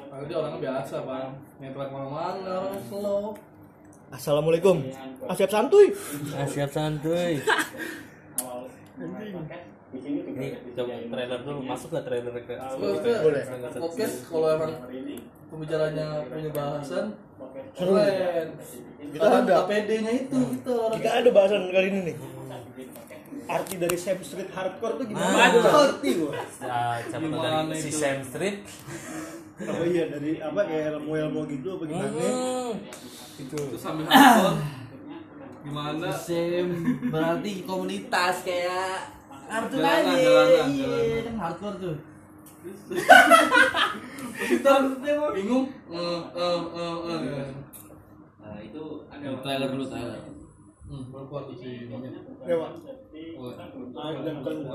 Lu dia orang biasa bang Nyetrek mana-mana orang slow Assalamualaikum. Asyap santuy. siap santuy. Ini coba trailer dulu, masuk lah trailer ke. Maksudnya Boleh. podcast kalau emang pembicaranya punya bahasan Seru. Keren Kita ada. APD-nya itu gitu orang Kita ada bahasan kali ini nih. Arti dari Sam Street Hardcore tuh gimana? Ah. Gak ngerti gua. Nah, siapa tahu Gimana dari si itu? Sam Street. Apa iya dari apa kayak ilmu-ilmu gitu apa gimana? Hmm. Terus sambil handphone Gimana berarti komunitas kayak Arthur aja Jalanan, jalanan, iya jalanan. kan hardcore tuh Kita bingung Eh, eh, eh, eh, eh. Nah, itu ada trailer dulu trailer Hmm, baru keluar tuh si Ya, Pak. Oh, Ah, dan bukan